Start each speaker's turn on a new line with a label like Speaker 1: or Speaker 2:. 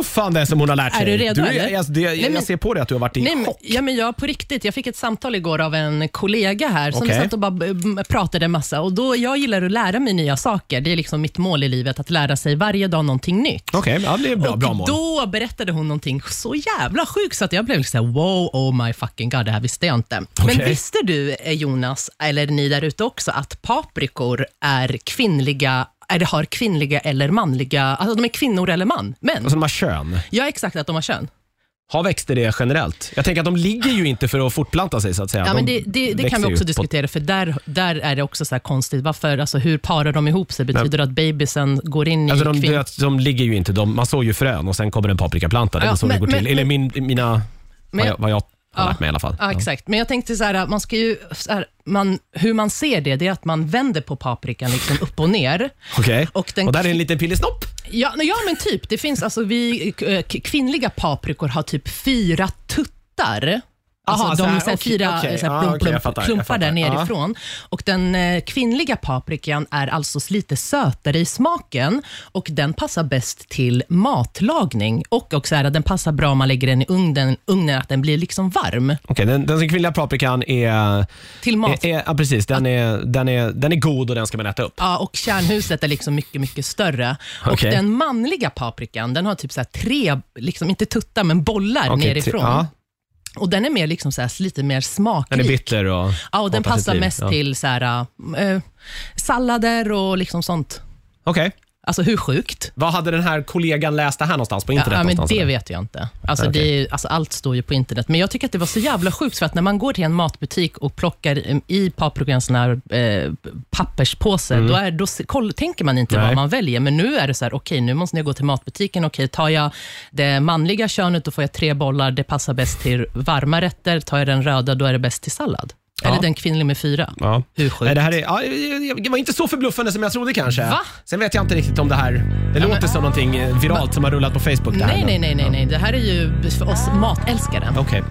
Speaker 1: förbluffande som hon har lärt sig.
Speaker 2: Är du redo,
Speaker 1: är-
Speaker 2: eller?
Speaker 1: jag, det,
Speaker 2: Nej, men-
Speaker 1: jag ser på dig att du har varit i
Speaker 2: Nej, men,
Speaker 1: chock.
Speaker 2: ja, men jag på riktigt, jag fick ett samtal igår av en kollega här som
Speaker 1: Okej.
Speaker 2: satt och bara eh, pratade en massa. Och då, jag gillar att lära mig nya saker. Det är liksom mitt mål i livet, att lära sig varje dag någonting nytt.
Speaker 1: Okej, ja, det är bra,
Speaker 2: och
Speaker 1: bra mål.
Speaker 2: Då berättade hon någonting så jävla sjukt så att jag blev liksom såhär, wow, oh my fucking god, det här visste jag inte. Men
Speaker 1: Okej.
Speaker 2: visste du, eh, Jonas, eller ni där ute också, att paprikor är kvinnliga eller har kvinnliga eller manliga, alltså de är kvinnor eller man, män.
Speaker 1: Alltså de har kön.
Speaker 2: Ja, exakt att de har kön.
Speaker 1: Har växter det generellt? Jag tänker att de ligger ju inte för att fortplanta sig så att säga.
Speaker 2: Ja, men
Speaker 1: De
Speaker 2: det det, det
Speaker 1: växer
Speaker 2: kan vi
Speaker 1: ju
Speaker 2: också
Speaker 1: på-
Speaker 2: diskutera, för där, där är det också så här konstigt. Varför, alltså, hur parar de ihop sig? Betyder det att bebisen går in
Speaker 1: Alltså
Speaker 2: i
Speaker 1: de,
Speaker 2: kvin-
Speaker 1: de, de ligger ju inte, de, man sår ju frön och sen kommer en paprikaplanta. Det är
Speaker 2: Ja,
Speaker 1: så det
Speaker 2: men-
Speaker 1: går till.
Speaker 2: men-
Speaker 1: Eller min, mina,
Speaker 2: Men-
Speaker 1: vad jag, vad jag har
Speaker 2: Ja.
Speaker 1: lärt mig i alla fall.
Speaker 2: Ja, exakt. Men jag tänkte så här, man ska ju, så här, man, hur man ser det, det är att man vänder på paprikan liksom upp och ner.
Speaker 1: Okej,
Speaker 2: Och den-
Speaker 1: och där är en liten pillesnopp.
Speaker 2: Ja, nej, ja men typ. Det finns alltså, vi eh, k- kvinnliga paprikor har typ fyra tuttar. Alltså
Speaker 1: Aha,
Speaker 2: de
Speaker 1: så här,
Speaker 2: så här,
Speaker 1: okej,
Speaker 2: fyra
Speaker 1: okej.
Speaker 2: så här,
Speaker 1: Ja,
Speaker 2: plump,
Speaker 1: okej, jag
Speaker 2: plump,
Speaker 1: fattar, jag
Speaker 2: klumpar där
Speaker 1: fattar. Ja.
Speaker 2: nerifrån. Och den eh, kvinnliga paprikan är alltså lite sötare i smaken och den passar bäst till matlagning. Och också är att den passar bra om man lägger den i ugnen, ugnen att den blir liksom varm
Speaker 1: Okej, den, den kvinnliga paprikan är...
Speaker 2: till mat.
Speaker 1: är, är ja, precis, den är, den, är, den är god och den ska man äta upp.
Speaker 2: Ja, och kärnhuset är liksom mycket, mycket större. Och
Speaker 1: Okej.
Speaker 2: den manliga paprikan, den har typ så här tre, liksom inte tuttar, men bollar
Speaker 1: Okej, tre-
Speaker 2: nerifrån.
Speaker 1: ja,
Speaker 2: Och den är mer liksom så här, lite mer smakrik.
Speaker 1: den är bitter och
Speaker 2: ja, och den
Speaker 1: har
Speaker 2: passar
Speaker 1: positiv,
Speaker 2: mest
Speaker 1: ja.
Speaker 2: till så här, eh, sallader och liksom sånt.
Speaker 1: Okej,
Speaker 2: Alltså hur sjukt?
Speaker 1: vad hade den här kollegan läst det här någonstans? På
Speaker 2: Ja,
Speaker 1: internet
Speaker 2: ja, men
Speaker 1: någonstans?
Speaker 2: det
Speaker 1: eller?
Speaker 2: vet jag inte. Alltså,
Speaker 1: Okej.
Speaker 2: det är, ju- alltså, allt står ju på internet. Men jag tycker att det var så jävla sjukt, för att när man går till en matbutik och plockar eh, i paprikan såna här eh, papperspåse, då, är, då se- koll, tänker man inte
Speaker 1: Mm. Nej.
Speaker 2: vad man väljer. Men nu är det så här, okej, nu måste jag gå till matbutiken. Okej, tar jag det manliga könet, då får jag tre bollar. Det passar bäst till varma rätter. Tar jag den röda, då är det bäst till sallad. Eller
Speaker 1: Ja.
Speaker 2: den kvinnliga med fyra.
Speaker 1: Ja.
Speaker 2: Hur sjukt?
Speaker 1: Nej, det, här är, ja, det var inte så förbluffande som jag trodde kanske.
Speaker 2: Va?
Speaker 1: Sen vet jag inte riktigt om det här... Det låter som någonting eh, viralt som har rullat på Facebook. Det här,
Speaker 2: nej,
Speaker 1: men-
Speaker 2: nej, nej, nej, nej. Det här är ju för oss matälskare.
Speaker 1: Okej.